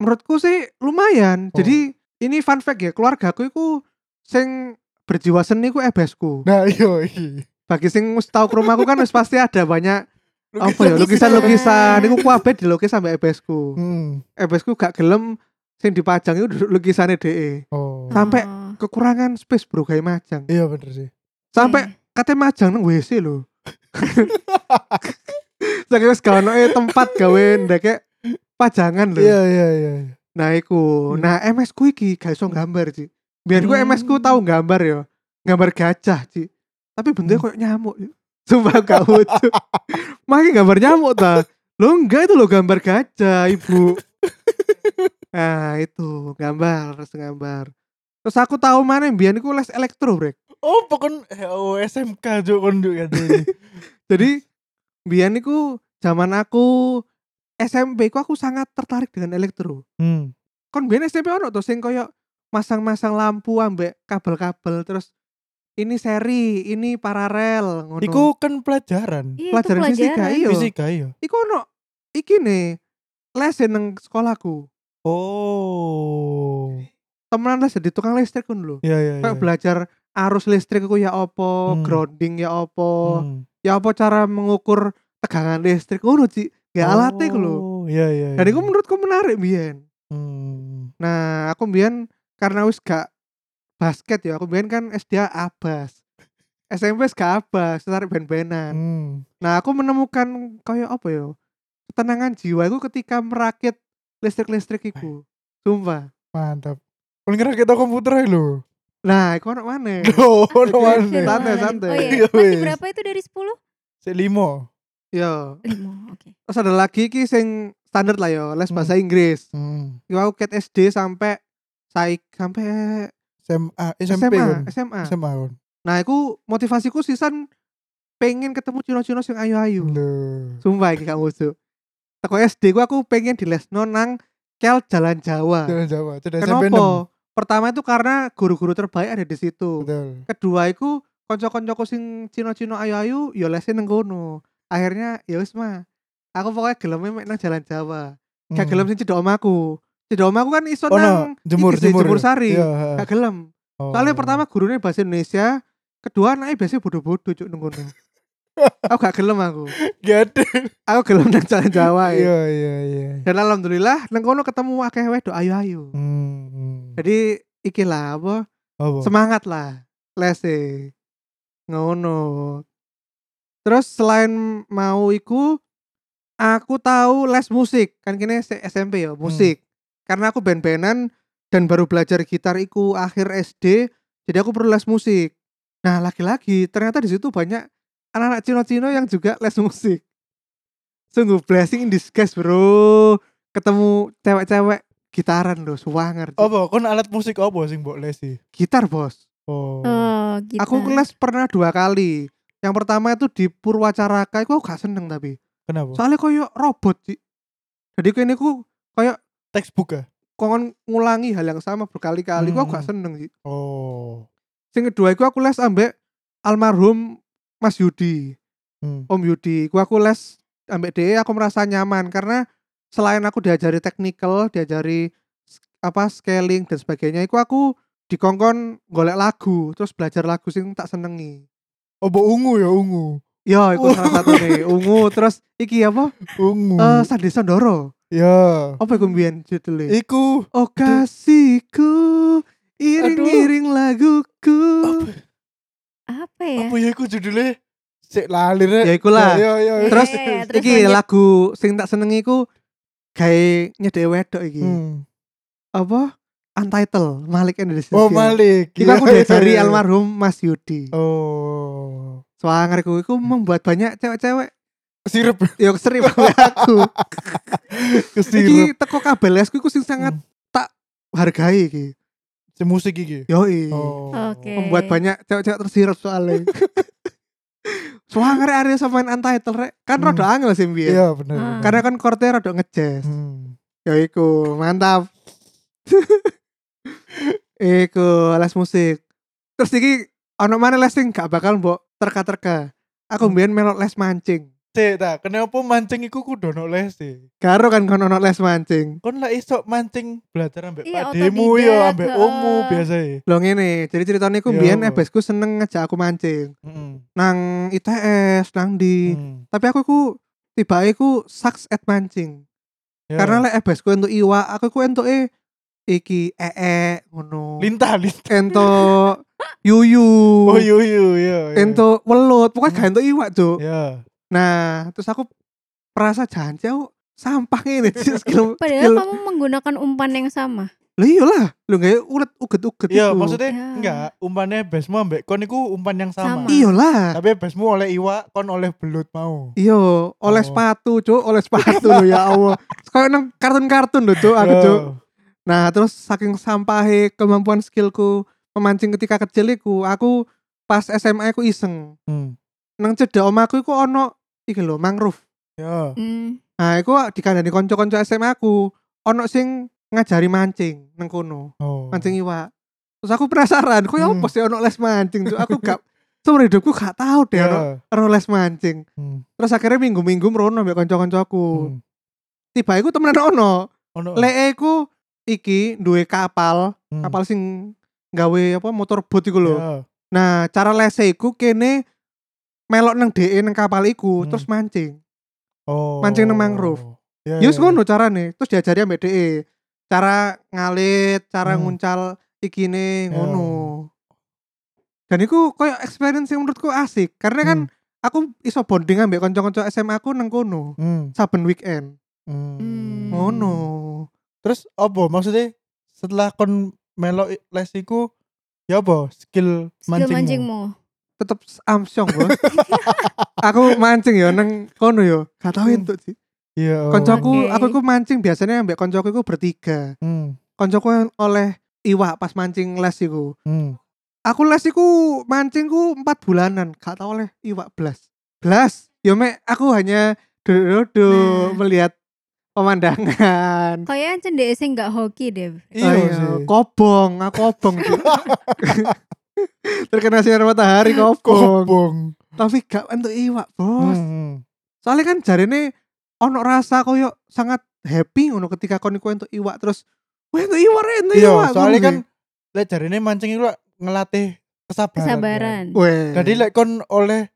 Menurutku sih lumayan.
Oh.
Jadi ini fun fact ya, keluargaku iku sing berjiwa seni ku ebesku.
Nah, iya iki.
Bagi sing wis tau ke rumahku kan wis pasti ada banyak apa ya
Lukisan.
lukisan-lukisan. Iku kabeh dilukis sampai ebesku.
Hmm.
Ebesku gak gelem sing dipajang itu duduk lukisannya DE.
Oh.
sampai-
Oh,
Kekurangan space bro kayak majang.
Iya bener sih. Hmm.
iya.
Sampai katanya majang nang WC lho. Saking wis gak ono eh, tempat gawe ndek eh, pajangan lho.
Iya, iya, iya. iya.
Nah iku.
Hmm.
Nah MS ku iki gak iso gambar, Ci. Biar gue
Hmm.
MS ku tau gambar ya. Gambar gajah, Ci. Tapi bentuknya
Hmm.
kayak nyamuk. Ci. Sumpah gak lucu. Makin gambar nyamuk ta. Lo enggak itu lo gambar gajah, Ibu. nah, itu gambar, harus gambar. Terus aku tahu mana biar aku les elektro, Brek.
Oh, pokon oh, SMK juk kon juk ya. Hmm.
Jadi biar niku zaman aku SMP ku aku sangat tertarik dengan elektro.
Hmm.
kon biyen SMP ono to sing koyo masang-masang lampu ambek kabel-kabel terus ini seri, ini paralel ngono.
Iku kan pelajaran.
iya, itu
pelajaran fisika iya.
Fisika iya.
iku ono iki nih les ya nang sekolahku.
Oh.
Temenan les jadi tukang listrik kan lho.
Iya, iya, iya.
Kayak belajar arus listrik ku ya opo,
Hmm.
grounding ya opo,
Hmm.
ya opo cara mengukur tegangan listrik ngono Ci. Ya alatnya ku lho.
Oh, Iya, iya.
Dan
iya.
iku menurutku menarik biyen.
Hmm.
Nah, aku mbiyen karena wis gak basket ya, aku mbiyen kan SD abas. SMP wis gak abas, tarik ben-benan.
Hmm.
Nah, aku menemukan kayak apa ya? Ketenangan jiwa aku ketika merakit listrik-listrik iku. Sumpah.
Mantap. Kon ngerakit komputer lho.
Nah, iku ono maneh.
Loh, ono
Iya.
maneh.
Santai, santai.
Oh iya.
Iya,
Masih
wes.
berapa itu dari 10?
Sik limo.
Yo.
5. Oke.
Terus ada lagi ki sing standar lah yo, les bahasa Inggris.
Hmm.
Iku aku ket SD sampai saik sampai
SMA, SMP
SMA,
kon.
SMA.
SMA kon.
Nah, aku motivasiku sisan pengen ketemu cino-cino sing ayu-ayu.
Loh.
Sumpah iki gak musuh. Teko SD ku aku pengen dilesno nang Kel Jalan Jawa.
Jalan Jawa. Cedek SMP enam.
Kenapa? Pertama itu karena guru-guru terbaik ada di situ.
Betul.
Kedua iku kanca-kancaku sing Cino-Cino ayu-ayu ya lesin nang kono. Akhirnya ya wis mah. Aku pokoknya gelemnya mek nang Jalan Jawa. Gak
Hmm.
gelem sing cedok omaku. Cedok omaku kan iso
Oh,
nang
no. jemur,
iki sih,
jemur.
Jemur Sari.
Iya, ha.
Gak gelem.
Oh.
Soalnya pertama gurunya bahasa Indonesia, kedua anaknya biasanya bodoh-bodoh cuk nang kono. aku gak gelem aku.
Gak ada.
Aku gelem nang Jalan Jawa. ya.
Iya, iya, iya.
dan alhamdulillah nang kono ketemu akeh wedok ayu-ayu.
Hmm.
Jadi ikilah apa
Apa?
semangat lah les e. ngono. Terus selain mau iku aku tahu les musik kan kini se- SMP ya musik karena aku band-bandan dan baru belajar gitar iku akhir SD jadi aku perlu les musik. Nah lagi-lagi ternyata di situ banyak anak-anak Cino-Cino yang juga les musik. Sungguh blessing in disguise bro. Ketemu cewek-cewek gitaran loh, suwanger.
Apa? Kon alat musik apa sing mbok les sih?
Gitar bos.
Oh.
Eh,
Oh, gitu.
Aku les pernah dua kali. Yang pertama itu di Purwacaraka, aku gak seneng tapi.
Kenapa?
Soalnya koyo robot sih. Jadi kene ku koyo
Textbook ah.
kon ngulangi hal yang sama berkali-kali gua
Hmm.
gak seneng sih
Oh.
sing kedua iku aku les ambek almarhum Mas Yudi
Hmm.
Om Yudi gua aku les ambek DE aku merasa nyaman karena selain aku diajari technical diajari s- apa scaling dan sebagainya iku aku dikongkon golek lagu terus belajar lagu sing tak senengi
Oh, mbok ungu ya ungu.
Yo, Iya, iku
Ungu.
salah satu nih ungu terus iki apa
Ungu.
Eh Sandi Sandoro
ya.
apa iku mbiyen judulnya
Iku
Oh kasihku Iring-iring laguku
apa,
apa ya?
apa ya iku judulnya? Sik lalir rek.
Ya ikulah.
Ya ya ya.
Terus-
Ya, ya, ya, terus
Iki
lanjut.
lagu sing tak senengi ku Kayak nyedek wedok iki
Hmm.
Apa? Untitled Malik Indonesia
Oh, Malik.
Iku
Ya,
aku
ya,
diajari
ya.
almarhum Mas Yudi
Oh.
Soalnya aku iku membuat banyak cewek-cewek
Kesirep,
Yang sering oleh aku
kesirep.
Iki teko kabel esku iku sing sangat tak hargai iki
Si Hmm. musik iki.
Yoi
Oh.
Oke.
Membuat
Oke.
banyak cewek-cewek tersirap soalnya Soalnya Arya sama main Untitled rek Kan
Hmm.
rada angel sih mbiyen.
Iya bener.
Ah.
bener.
Karena kan korte rada ngejazz.
Hmm.
Ya iku, mantap. iku les musik. Terus iki ono mana les sing gak bakal mbok terka-terka.
Hmm.
Aku mbiyen melok les mancing.
Cek ta, kenapa mancing iku kudu ono les sih?
Karo kan kon ono les mancing.
Kon lah iso mancing belajar ambek
Iya,
padimu ya,
otodidak,
ambek
heeh.
ommu biasa ya.
Loh ngene, jadi ceritanya aku
Yo.
mbiyen ebesku seneng ngejak aku mancing.
Heeh.
Nang ITS, nang di.
Hmm.
Tapi aku ku tiba aku sucks at mancing.
Iya. Ya.
Karena lek ebesku entuk iwak, aku ku entuke iki ee ngono.
lintah lintah.
ento yuyu
Oh iya iya iya. iya.
ento welut pokoknya
Hmm.
gak ento iwak tuh
Ya.
nah terus aku merasa janji aku sampah ini skill
Padahal
skill
kamu menggunakan umpan yang sama.
lu iyalah lu gak ulet uget uget
Iya, maksudnya
Ya.
enggak umpannya besmu ambek kon iku umpan yang sama.
Sama.
iyalah
Tapi besmu oleh iwak, kon oleh belut mau.
iyo oleh
Oh.
sepatu cuk oleh sepatu lo ya allah kayak nang kartun-kartun loh cuk
Eh.
aku cuk nah terus saking sampahe kemampuan skillku memancing ketika kecil iku aku pas SMA aku iseng
Ya. Hmm.
nang cedek omaku iku ono iki lho mangrove
Ya.
Hmm.
Nah, iku dikandani konco-konco SMA aku. Ono sing ngajari mancing nang kono,
Oh.
mancing iwak. Terus aku penasaran, kok
Hmm.
apa sih ono les mancing? Cuk? aku gak seumur hidupku gak tahu deh ono,
Ya.
ono les mancing.
Hmm.
Terus akhirnya minggu-minggu merono mbek kanca-kancaku.
Hmm. Oh.
Tiba iku temenan Oh. ono.
Ono.
Leke iku iki duwe kapal,
Hmm.
kapal sing gawe apa motor boat iku lho.
Ya.
Nah, cara lese iku kene melok nang DE nang kapal iku
Hmm.
terus mancing.
Oh.
Mancing nang mangrove.
Ya.
Yus
ya,
ngono carane, terus diajari ambek DE. Cara ngalit, cara
Hmm. Ya.
nguncal ikine ngono. Dan iku koyo experience yang menurutku asik
ya.
karena kan
Hmm.
aku iso bonding ambek kanca-kanca SMA aku nang kono
Hmm.
saben weekend.
Hmm.
Hmm.
Ngono.
Terus apa maksudnya setelah kon melok i- les iku ya apa skill,
Skill
mancingmu?
mancingmu.
Tetep amsyong bos. aku mancing ya nang kono ya. Gak tau
Hmm.
entuk sih.
Iya. oh.
Kancaku,
Oke.
aku iku mancing biasanya ambek kancaku iku bertiga.
Hmm.
Kancaku oleh iwak pas mancing les iku.
Hmm.
aku les iku mancingku 4 bulanan gak tau oleh iwak belas belas yo mek aku hanya duduk-duduk
Nah.
melihat pemandangan Oh,
Kayak cendek sing nggak hoki deh.
Iya
Ayo,
sih.
kobong aku kobong Cuk. terkena sinar matahari kobong
Kobong.
tapi gak untuk iwak
Hmm,
bos
hmm.
soalnya kan jarene ono rasa koyo sangat happy ngono ketika kon iku untuk iwak terus Wah, untuk iwak, Ren, entuk
Iya,
iwak.
soalnya
ngono
kan
sih.
lek jarine mancing iku lek ngelatih kesabaran.
Kesabaran.
Weh.
Kan. Jadi lek kon oleh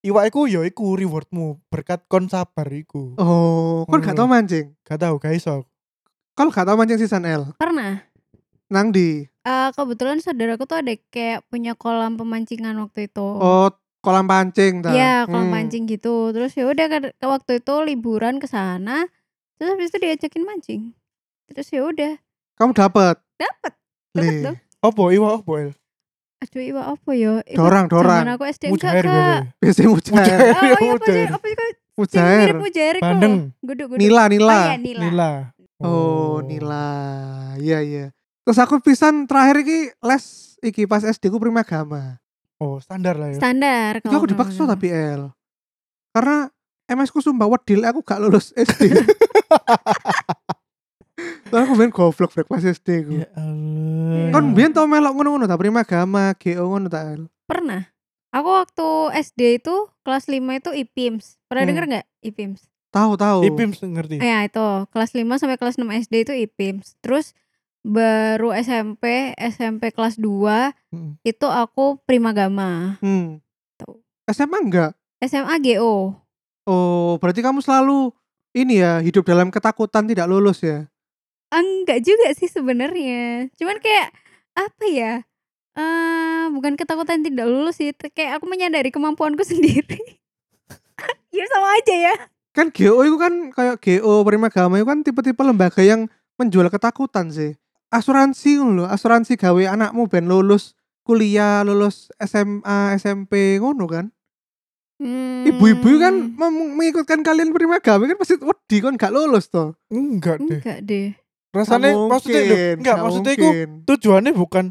iwak iku ya iku rewardmu berkat kon sabar iku.
oh, kon gak tau
Hmm.
mancing.
Gak tau gak iso.
Kalau gak tau mancing season L,
Pernah.
nang di
Eh, kebetulan saudaraku tuh ada kayak punya kolam pemancingan waktu itu.
Oh, kolam pancing ta.
Iya, kolam
Hmm.
pancing gitu. Terus ya udah kan- ke waktu itu liburan ke sana. Terus habis itu diajakin mancing. Terus ya udah,
Kamu dapat.
dapat. Dapat
Lih.
dong.
Opo iwak opo el?
Aduh, iwa apa ya? Iku
Dorang, dorang.
zaman aku SD enggak,
Mujair
Kak.
biasa.
Biasanya mujair.
Mujair,
Oh, iya, apa sih?
mujair.
Apa sih? Kak? Sing
Mujair.
mirip mujair kok.
Bandeng,
Guduk-guduk.
Nila, nila.
Ah, iya, nila.
nila.
Oh, nila. Iya, iya. Terus aku pisan terakhir iki les iki pas SD ku primagama.
Oh, standar lah ya.
Standar.
Itu aku dipaksa
hmm.
tapi L. Karena MS ku sumpah wedil aku gak lulus SD. Aku main goblok brek pas SD ku.
Ya Allah.
Kon biyen tau melok ngono-ngono ta prima agama, GO ngono ta. El?
Pernah. Aku waktu SD itu kelas 5 itu IPIMS. Pernah
Hmm.
denger nggak IPIMS?
Tahu tahu.
Ipims ngerti.
Eh, Ya itu kelas 5 sampai kelas 6 SD itu IPIMS. Terus baru SMP, SMP kelas 2
Mm.
itu aku primagama.
Hmm.
Tahu.
SMA enggak?
SMA GO.
Oh, berarti kamu selalu ini ya, hidup dalam ketakutan tidak lulus ya.
Ah, Enggak juga sih sebenarnya. Cuman kayak apa ya? Eh bukan ketakutan tidak lulus sih, T- kayak aku menyadari kemampuanku sendiri. ya sama aja ya.
Kan GO itu kan kayak GO Primagama itu kan tipe-tipe lembaga yang menjual ketakutan sih. Asuransi ngono lho, asuransi gawe anakmu ben lulus kuliah, lulus SMA, SMP ngono kan.
Hmm.
Ibu-ibu kan
Hmm.
mem- mengikutkan kalian Primagama kan pasti wedi kon gak lulus toh.
Enggak deh.
enggak deh.
Rasanya maksudnya loh, enggak maksudnya itu tujuannya bukan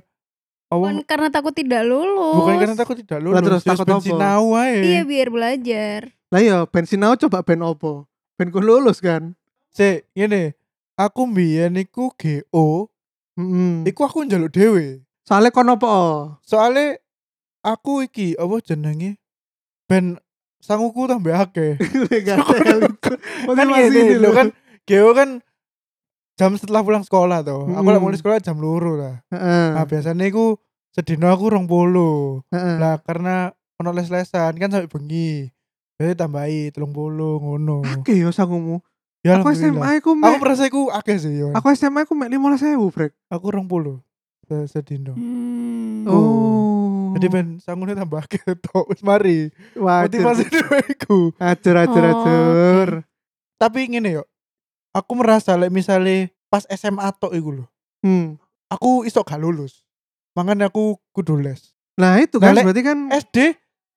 Bukan
awal
karena takut tidak lulus.
Oh. bukan karena takut ya. tidak lulus.
Lah terus
Serius
takut
bensin
apa?
nau ae.
Iya biar belajar.
Lah ya ben sinau coba ben opo? Ben kon lulus kan.
Sik, ngene. Aku mbiyen iku GO,
Hmm. Heeh.
iku aku njaluk dhewe.
Soalnya kon opo?
Soale aku iki apa jenenge? Ben sanguku tambah akeh.
Gak ada
Soalnya
itu.
kan
Masih-masih
ngene
ini
lho
lho.
kan GO kan jam setelah pulang sekolah toh. Aku lek
Mm.
mulai sekolah jam luru lah.
Heeh.
Nah, biasanya iku sedina aku rong puluh.
Heeh.
Lah karena ono les-lesan kan sampai bengi. Jadi tambahi telung puluh ngono.
Oke yo sangumu.
Ya
Aku SMA
alhamdulillah.
aku
Aku
mek
merasa iku akeh sih yo.
aku SMA aku mek 15.000, Brek.
Aku rong puluh se- sedina.
Mm.
Hmm.
Oh.
Oh.
Jadi ben sangune tambah akeh tok wis mari.
wajar.
Motivasi dhewe iku.
Acur acur
Oh,
acur.
Tapi ngene yo. Aku merasa lek misale pas SMA tok iku lho.
Hmm.
Aku iso gak lulus. Mangan aku kudu les.
Nah, itu kan
Nah, lek-
berarti kan
SD,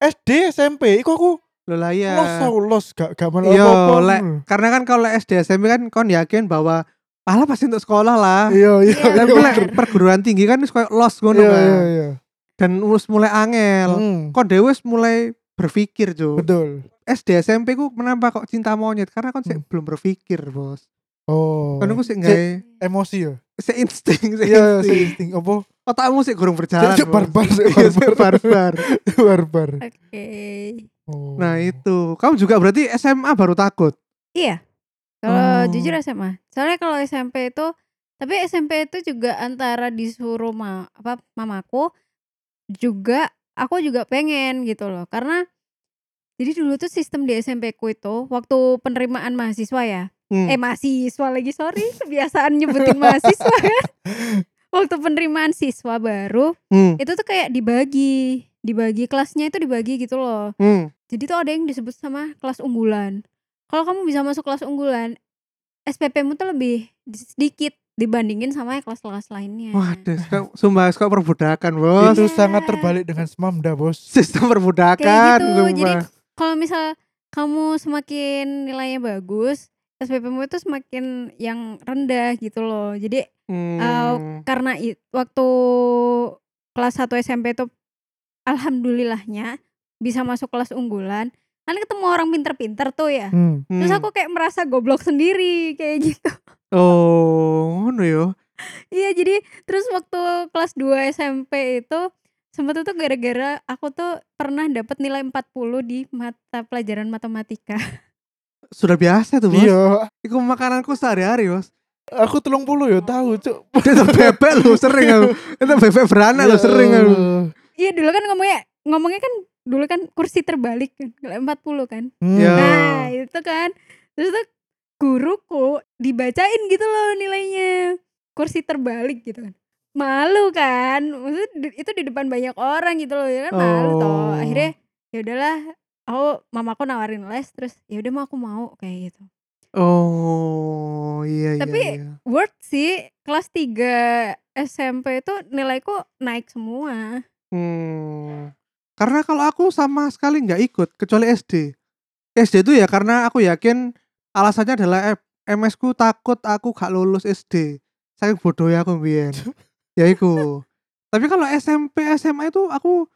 SD, SMP iku aku
lo lah ya.
los tau los gak gak malah
Yo,
apa-apa.
lek karena kan kalau SD SMP kan kon yakin bahwa pala pasti untuk sekolah lah.
Iya, iya.
Iya,
Tapi
iya.
bener.
Ah. lek perguruan tinggi kan wis koyo los ngono
Iya,
kan.
iya, iya.
Dan wis mulai angel.
Hmm,
Kon dhewe wis mulai berpikir, Cuk.
Betul.
SD SMP ku kenapa kok cinta monyet? Karena kon sik
Hmm.
belum berpikir, Bos.
Oh.
Kon ku sik gawe
emosi ya.
sik insting, sik
Iya,
insting.
sih insting apa?
Otakmu sik gurung berjalan.
Cek
Bos.
barbar, cek
Iya, sik
barbar,
barbar.
barbar.
Oke.
Oh.
Nah, itu. Kamu juga berarti SMA baru takut.
Iya. Kalau
Oh.
jujur SMA. Soalnya kalau SMP itu tapi SMP itu juga antara disuruh ma apa mamaku juga aku juga pengen gitu loh. Karena jadi dulu tuh sistem di SMP ku itu waktu penerimaan mahasiswa ya.
Hmm.
Eh mahasiswa lagi sorry kebiasaan nyebutin mahasiswa kan. Waktu penerimaan siswa baru
Hmm.
itu tuh kayak dibagi, dibagi kelasnya itu dibagi gitu loh.
Hmm.
Jadi tuh ada yang disebut sama kelas unggulan. Kalau kamu bisa masuk kelas unggulan, SPP-mu tuh lebih sedikit dibandingin sama yang kelas-kelas lainnya.
Waduh, kok- sumpah kok perbudakan, Bos.
Itu
Iya.
sangat terbalik dengan semamda, Bos.
Sistem
Kayak
perbudakan,
gitu. Jadi
sumpah.
kalau misal kamu semakin nilainya bagus, SPP-mu itu semakin yang rendah gitu loh. Jadi
Hmm.
eh, karena i- waktu kelas 1 SMP itu alhamdulillahnya bisa masuk kelas unggulan. Kan ketemu orang pinter-pinter tuh ya.
Hmm.
Hmm.
Terus aku kayak merasa goblok sendiri kayak gitu.
Oh, ngono yo.
Iya jadi terus waktu kelas 2 SMP itu sempat itu gara-gara aku tuh pernah dapat nilai 40 di mata pelajaran matematika.
Sudah biasa tuh, Bos.
Iya,
Iku makananku sehari-hari, Bos.
aku telung puluh ya tahu, Cuk.
Tetep bebek lu sering aku. Tetep bebek beranak lu sering
Ya
aku.
Allah.
Iya dulu kan ngomongnya ngomongnya kan dulu kan kursi terbalik kan nilai 40 kan.
Hmm.
Ya.
Nah, itu kan. Terus tuh guruku dibacain gitu loh nilainya. Kursi terbalik gitu kan. Malu kan? Maksudnya di- itu di depan banyak orang gitu loh, ya kan malu toh.
Oh.
Akhirnya ya udahlah, aku mamaku nawarin les terus ya udah mau aku mau kayak gitu.
Oh, iya
Tapi,
iya. iya.
Worth sih kelas 3 SMP itu nilaiku naik semua.
Hmm. Karena kalau aku sama sekali nggak ikut kecuali SD. SD itu ya karena aku yakin alasannya adalah eh, MS ku takut aku gak lulus SD. Saking bodoh ya aku mbiyen. ya iku. Tapi kalau SMP SMA itu aku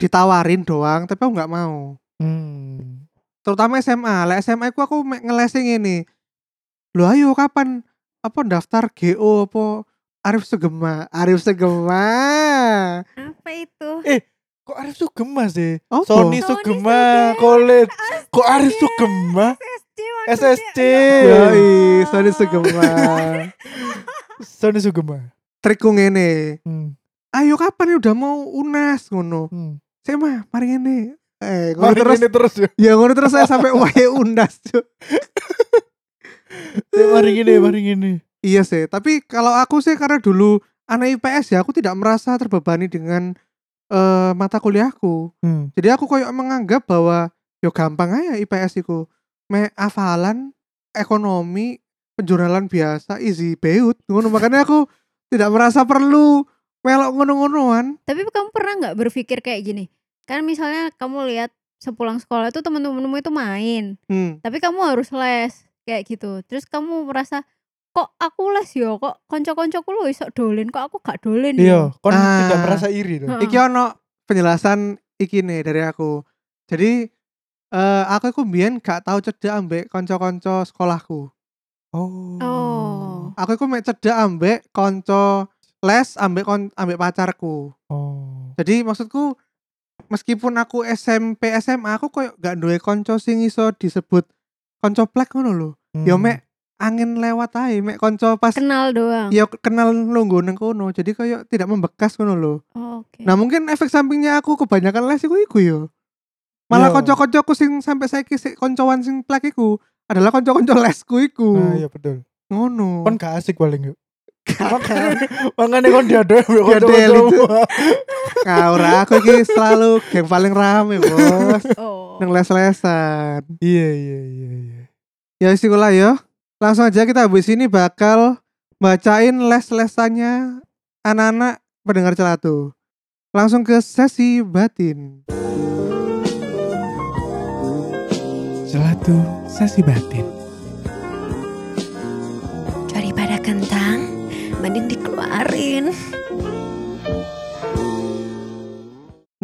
ditawarin doang tapi aku nggak mau.
Hmm.
Terutama SMA. Lah SMA ku aku mek ngelesing ini. Loh ayo kapan apa daftar GO apa Arif Sugema Arif Sugema
Apa itu?
Kok Arif Sugema sih?
oh
Sony
Sony
Sugema Iya.
Sugema.
College. Kok Arif Sugema?
SSC
SSC.
Ya
Yoi, Sony Sugema
Sony Sugema.
trikku ngene
Hmm.
ayo kapan ya udah mau unas ngono
Hmm.
saya mah mari ngene eh ngono
Mari
terus
ngene terus ya.
ya ngono terus saya sampai wae unas Cuk.
Eh, Mari ngene, mari ngene.
Iya sih, tapi kalau aku sih karena dulu anak IPS ya, aku tidak merasa terbebani dengan eh, mata kuliahku.
Hmm.
Jadi aku koyo menganggap bahwa yo gampang ya aja IPS itu. Me hafalan ekonomi penjurnalan biasa easy beut ngono makanya aku tidak merasa perlu melok ngono-ngonoan.
Tapi kamu pernah nggak berpikir kayak gini? Kan misalnya kamu lihat sepulang sekolah tuh teman-temanmu itu main,
Hmm.
tapi kamu harus les kayak gitu. Terus kamu merasa kok aku les yo, kok konco-koncoku lu iso dolen, kok aku gak ya?" dolen
Iya, Hmm.
yo.
kon
Ah.
tidak merasa iri loh.
Heeh.
Iki ono penjelasan iki nih dari aku. Jadi eh, aku iku mbiyen gak tahu cedak ambek kanca-kanca sekolahku.
Oh.
Oh.
aku iku mek cedak ambek konco les ambek kon ambek pacarku.
Oh.
Jadi maksudku meskipun aku SMP SMA aku koyo gak duwe konco sing iso disebut konco plek ngono lho. Ya
Hmm.
mek angin lewat ae mek konco pas
Kenal doang.
ya kenal lungguh nang kono. Jadi koyo tidak membekas ngono lho.
Oke.
Nah, mungkin efek sampingnya aku kebanyakan les iku iku yo. Malah
Yo.
konco-koncoku sing sampai saiki sik koncoan sing plek iku adalah konco-konco lesku iku.
Nah, iya betul.
Ngono.
Kon gak asik paling yuk. Makanya kon diadoi ambil
Diadoi,
kanca-kancamu.
Kaura aku iki selalu geng paling rame, Bos.
Oh.
Nang les-lesan.
Iya, iya, iya, iya.
Ya wis iku lah ya. Langsung aja kita habis ini bakal bacain les-lesannya anak-anak pendengar celatu. Langsung ke sesi batin.
Selatu sasi batin.
Daripada kentang, mending dikeluarin.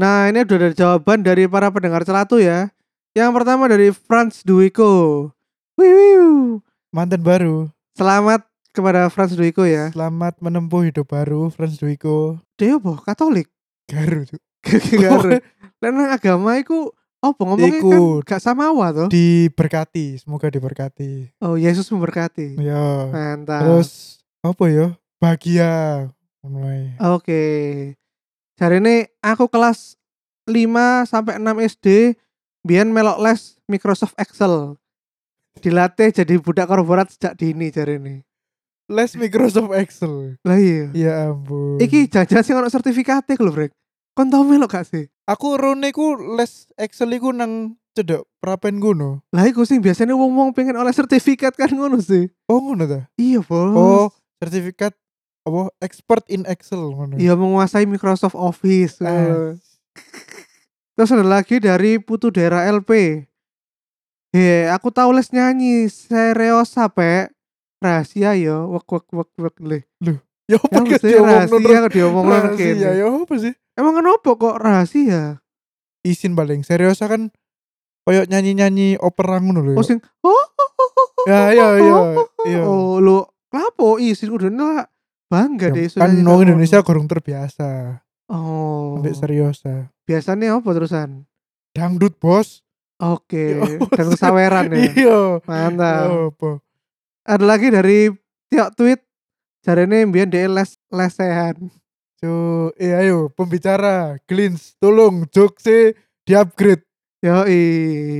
Nah, ini udah ada jawaban dari para pendengar celatu ya. Yang pertama dari Franz Duiko. Wiu.
Mantan baru.
Selamat kepada Franz Duiko ya.
Selamat menempuh hidup baru, Franz Duiko.
Dia boh Katolik.
Garu tuh.
Gara-gara. Lain agama iku apa ngomongnya
Oh. Iku.
kan gak samawa toh.
Diberkati, semoga diberkati.
Oh Yesus memberkati.
Ya.
Mantap.
Terus apa ya? Bahagia. Mulai.
Oke. Hari ini aku kelas 5 sampai 6 SD biyen melok les Microsoft Excel. Dilatih jadi budak korporat sejak dini jari ini.
Les Microsoft Excel.
Lah iya.
Ya ampun.
Iki jajan sih ono sertifikatnya lho, Brek. Kon tau melok gak sih?
aku rone ku les Excel iku nang cedek prapen ngono.
Lah iku sing biasanya wong-wong pengen oleh sertifikat kan ngono sih.
Oh ngono ta?
Iya, Bos.
Oh, sertifikat apa expert in Excel ngono.
Iya menguasai Microsoft Office. eh.
Ah.
Terus ada lagi dari Putu Daerah LP. He, aku tahu les nyanyi serius sampe rahasia yo wek wek wek wek le.
Ya apa
Ya mesti
diomongno
rahasia
terus?
kok diomongno
Rahasia, Iya.
kene.
ya apa sih?
Emang kenapa kok rahasia?
Isin paling serius kan koyok nyanyi-nyanyi opera ngono lho.
Oh
ya.
sing oh
Ya ya ya. Iya.
oh lo kenapa isin udah nolak bangga
Ya,
deh
kan
nyanyi
wong
kamu.
Indonesia kurang terbiasa,
Oh.
ambek seriosa.
Biasanya apa terusan?
Dangdut, Bos.
Oke,
Ya, apa
dan
sih?
kesaweran ya.
Iya.
Mantap.
Ya apa?
ada lagi dari tiap tweet jarene mbiyen dia les lesehan
Cuk, eh ayo pembicara, Glins, tolong jokse di upgrade.
yoi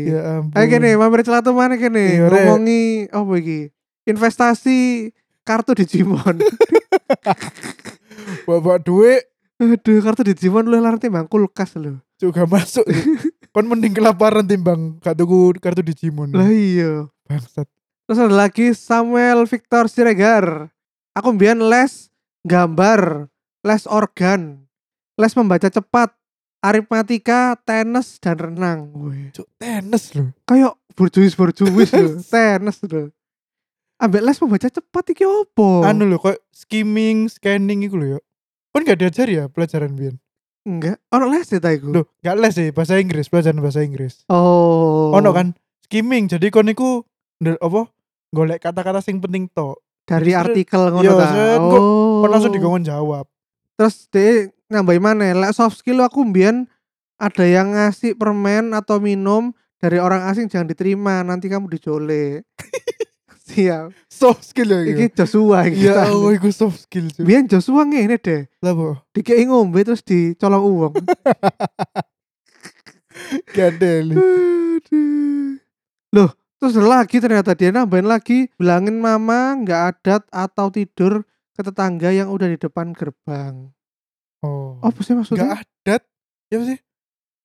Ya ampun.
ayo kene mampir celatu mana kene
Iya, Rek.
ngomongi apa iki investasi kartu Digimon
Bawa duit
aduh kartu Digimon lu larang timbang kulkas lho
juga masuk. kan mending kelaparan timbang gak tuku kartu Digimon.
lah iya
Bangsat.
terus ada lagi Samuel Victor Siregar aku mbiyen les gambar les organ les membaca cepat aritmatika tenis dan renang Wih.
Cuk, tenis loh.
kayak borjuis borjuis lho tenis lho ambek les membaca cepat iki opo
Anu loh, kok skimming, scanning iku loh ya. Kan gak diajar ya pelajaran biyen.
enggak ono les ya ta iku
Loh, gak les sih bahasa Inggris, pelajaran bahasa Inggris.
oh
kan? Ono kan skimming, jadi kon iku ndel- apa? Golek kata-kata sing penting tok.
dari
Seret.
artikel ngono
Iya,
ta.
seret, kok-
Oh.
Kok langsung dikongkon jawab.
Terus dia nambahin mana? Lek soft skill aku mbien ada yang ngasih permen atau minum dari orang asing jangan diterima, nanti kamu dijolek. Siap.
Soft skill ya iki.
Iki Joshua iki.
Ya
Tan.
Allah, iku soft skill. Cuk.
Biyen Joshua ngene deh.
Lah po.
Dikei ngombe terus dicolong uang.
Gadeli.
Aduh. Loh, terus ada lagi ternyata dia nambahin lagi bilangin mama nggak adat atau tidur ke tetangga yang udah di depan gerbang.
Oh.
Apa sih maksudnya?
Enggak adat. Ya apa sih?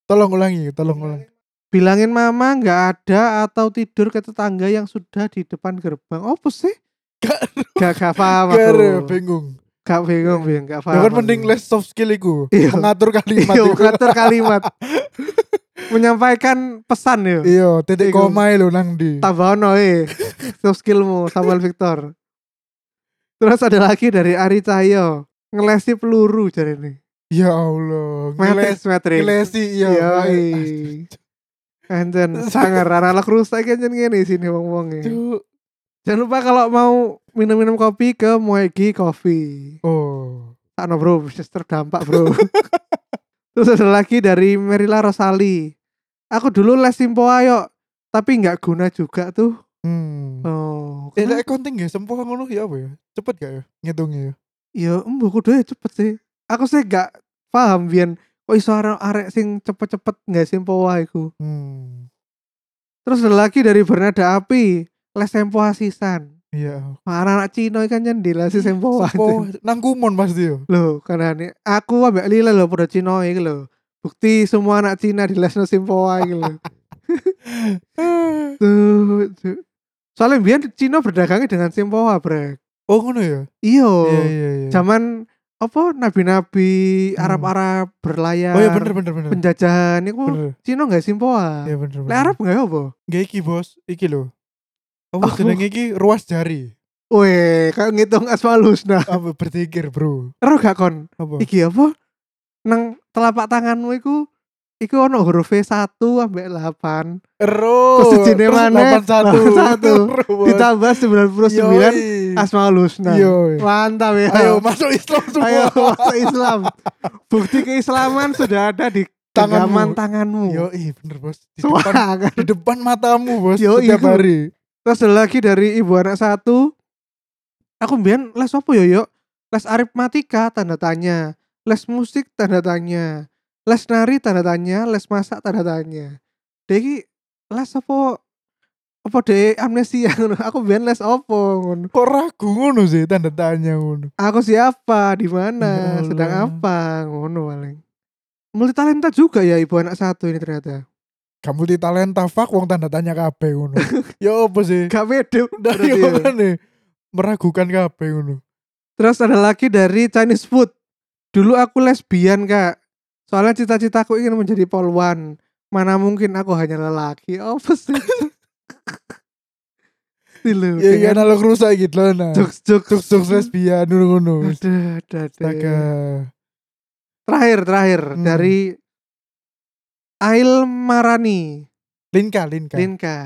Tolong ulangi, tolong ulangi.
Bilangin mama nggak ada atau tidur ke tetangga yang sudah di depan gerbang. Apa sih?
Gak
Gak gak paham
Gara
aku.
bingung.
Gak bingung, bingung, gak
Ya
paham.
kan mending les soft skill iku.
Iya.
Mengatur kalimat
Iya,
iku.
ngatur kalimat. Menyampaikan pesan ya.
Iya, titik
Iku.
koma lho nang ndi.
tambah ono eh soft skillmu Samuel Victor terus ada lagi dari Ari Cahyo ngelesi peluru jadi ini
Ya Allah.
metris
Ngeles
metris
ngelesi iya.
Yoi.
Astaga.
Anjen, sangar anak rusak anjen gini sini wong wongnya
Cuk.
Jangan lupa kalau mau minum-minum kopi ke Moegi Coffee.
Oh.
Takno bro, bisnis terdampak bro. Terus ada lagi dari Merila Rosali. Aku dulu les simpoa yuk, tapi nggak guna juga tuh.
Hmm.
Oh,
Eh, lek konting gak sempoh ngono ya apa ya? Cepet gak ya ngitungnya ya?
Ya embo kudu ya cepet sih. Aku sih gak paham biyen kok iso arek arek sing cepet-cepet nggak sempo wae iku.
Hmm.
Terus ada lagi dari Bernada Api, les sempo asisan.
Iya.
Marah anak Cino ikan nyendela
Hmm,
si kan sempo wae.
Sempoh nang kumon pasti yo.
Loh, karena ini aku ambek Lila lho pada Cino iki lho. Bukti semua anak Cina di lesno sempo wae iki lho.
ya?
Tuh, tuh. Soalnya biyen Cino berdagangnya dengan sempo wae, Brek.
Oh ngono ya?
Iya.
Iya iya iya.
Zaman apa nabi-nabi
Hmm.
Arab-Arab berlayar.
Oh iya bener bener bener.
penjajahan niku
Bener.
Cina nggak simpoa.
Iya bener bener.
Lek Arab nggak apa?
Gak iki bos, iki lho. Kamu
Oh.
jenenge iki ruas jari.
Weh, kayak ngitung asmaul husna.
Apa berpikir, Bro?
Ero gak kon?
Apa?
Iki apa? Nang telapak tanganmu iku iku ono huruf V1 ambek 8
Ero.
Terus sejene maneh, 81.
81.
ditambah 99 asmaul husna.
Yo.
Mantap ya.
Ayo masuk Islam semua.
nah. Ayo masuk Islam. Bukti keislaman sudah ada di
Tanganmu.
genggaman tanganmu.
Yo, bener bos. Di depan,
Suara.
di depan matamu, bos.
Yo,
setiap
iku.
hari.
Terus ada lagi dari ibu anak satu. Aku mbien les apa ya yuk? Les aritmatika tanda tanya. Les musik tanda tanya. Les nari tanda tanya. Les masak tanda tanya. Dia iki les apa? Apa deh amnesia ngono. Aku mbien les apa ngono.
Kok ragu ngono sih tanda tanya ngono.
Aku siapa? Di
Ya
mana?
Allah.
Sedang apa? Ngono paling. Multitalenta juga ya ibu anak satu ini ternyata.
Kamu di talenta fuck wong tanda tanya kabeh ngono. Yo apa sih?
Gak pede.
Dari
berarti ya.
iya, mana? Meragukan kabeh ngono.
Terus ada lagi dari Chinese food. Dulu aku lesbian kak. Soalnya cita-citaku ingin menjadi polwan. Mana mungkin aku hanya lelaki. Oh sih? Stilu.
Ya iya analog rusak gitu loh nah.
Jokes jokes.
Jokes jokes lesbian ngono ngono.
Aduh, aduh, aduh.
Astaga.
Terakhir terakhir
Hmm.
dari Ail Marani
Linka, Linka.
Linka.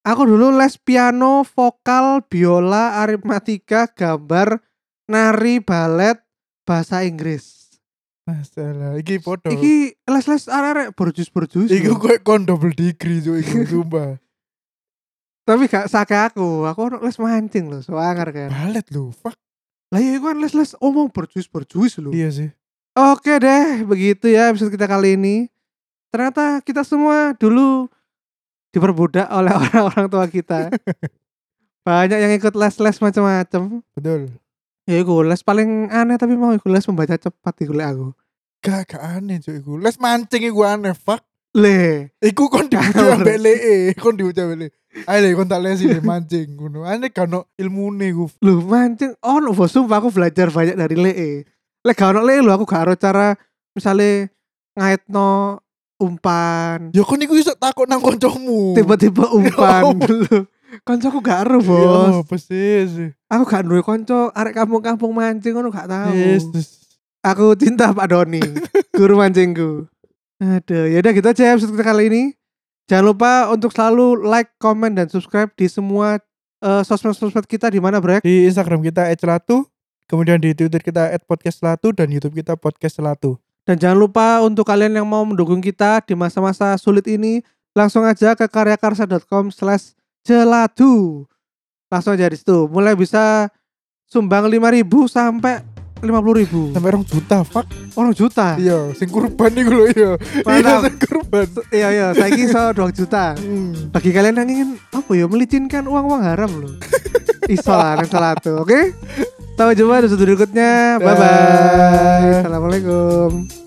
Aku dulu les piano, vokal, biola, aritmatika, gambar, nari, balet, bahasa Inggris.
Masalah. Iki podo. Iki,
Iki les-les arek-arek borjus-borjus.
Iku
lho.
kowe kon double degree cuk iku sumpah.
Tapi gak sake aku, aku ono les mancing loh, soangar kan.
Balet lu, fuck.
Lah ya iku kan les-les omong borjus-borjus loh.
Iya sih.
Oke deh, begitu ya episode kita kali ini. Ternyata kita semua dulu diperbudak oleh orang-orang tua kita. Banyak yang ikut les-les macam-macam.
Betul.
Ya iku les paling aneh tapi mau iku les membaca cepat iku lek aku.
Gak gak aneh cuk iku. Les mancing iku aneh, fuck.
Le,
Iku kon diuji
Ngawur.
ambek lee, kon diuji ambek lee. Ayo le, kon tak lesi le mancing ngono. Aneh kan ono ilmune iku.
lu mancing ono bos sumpah aku belajar banyak dari le. Lek gak ono le lho aku gak ero cara misale ngaitno umpan.
Ya kon iku iso takut nang kancamu.
Tiba-tiba umpan lho. Koncoku gak ero, Bos.
Oh. Iya, apa sih? sih?
Aku gak duwe konco arek kampung-kampung mancing ngono gak tahu.
Yesus.
Aku cinta Pak Doni, guru mancingku. Aduh, ya udah gitu aja episode kita kali ini. Jangan lupa untuk selalu like, comment dan subscribe di semua eh, sosmed-sosmed kita di mana, Brek?
Di Instagram kita @celatu, kemudian di Twitter kita @podcastcelatu dan YouTube kita podcastcelatu.
Dan jangan lupa untuk kalian yang mau mendukung kita di masa-masa sulit ini, langsung aja ke karyakarsa.com slash jeladu. Langsung aja di situ. Mulai bisa sumbang 5.000 sampai 50.000.
Sampai orang juta, fuck.
Orang juta.
Iya, sing kurban iku lho iya. Iya,
Mantap.
sing kurban.
Iya, iya. Saya iso 2 juta.
Hmm.
Bagi kalian yang ingin apa ya melicinkan uang-uang haram loh. Iso lah, nang salah tuh, oke? Sampai jumpa di episode berikutnya. Bye-bye.
Dah.
Assalamualaikum.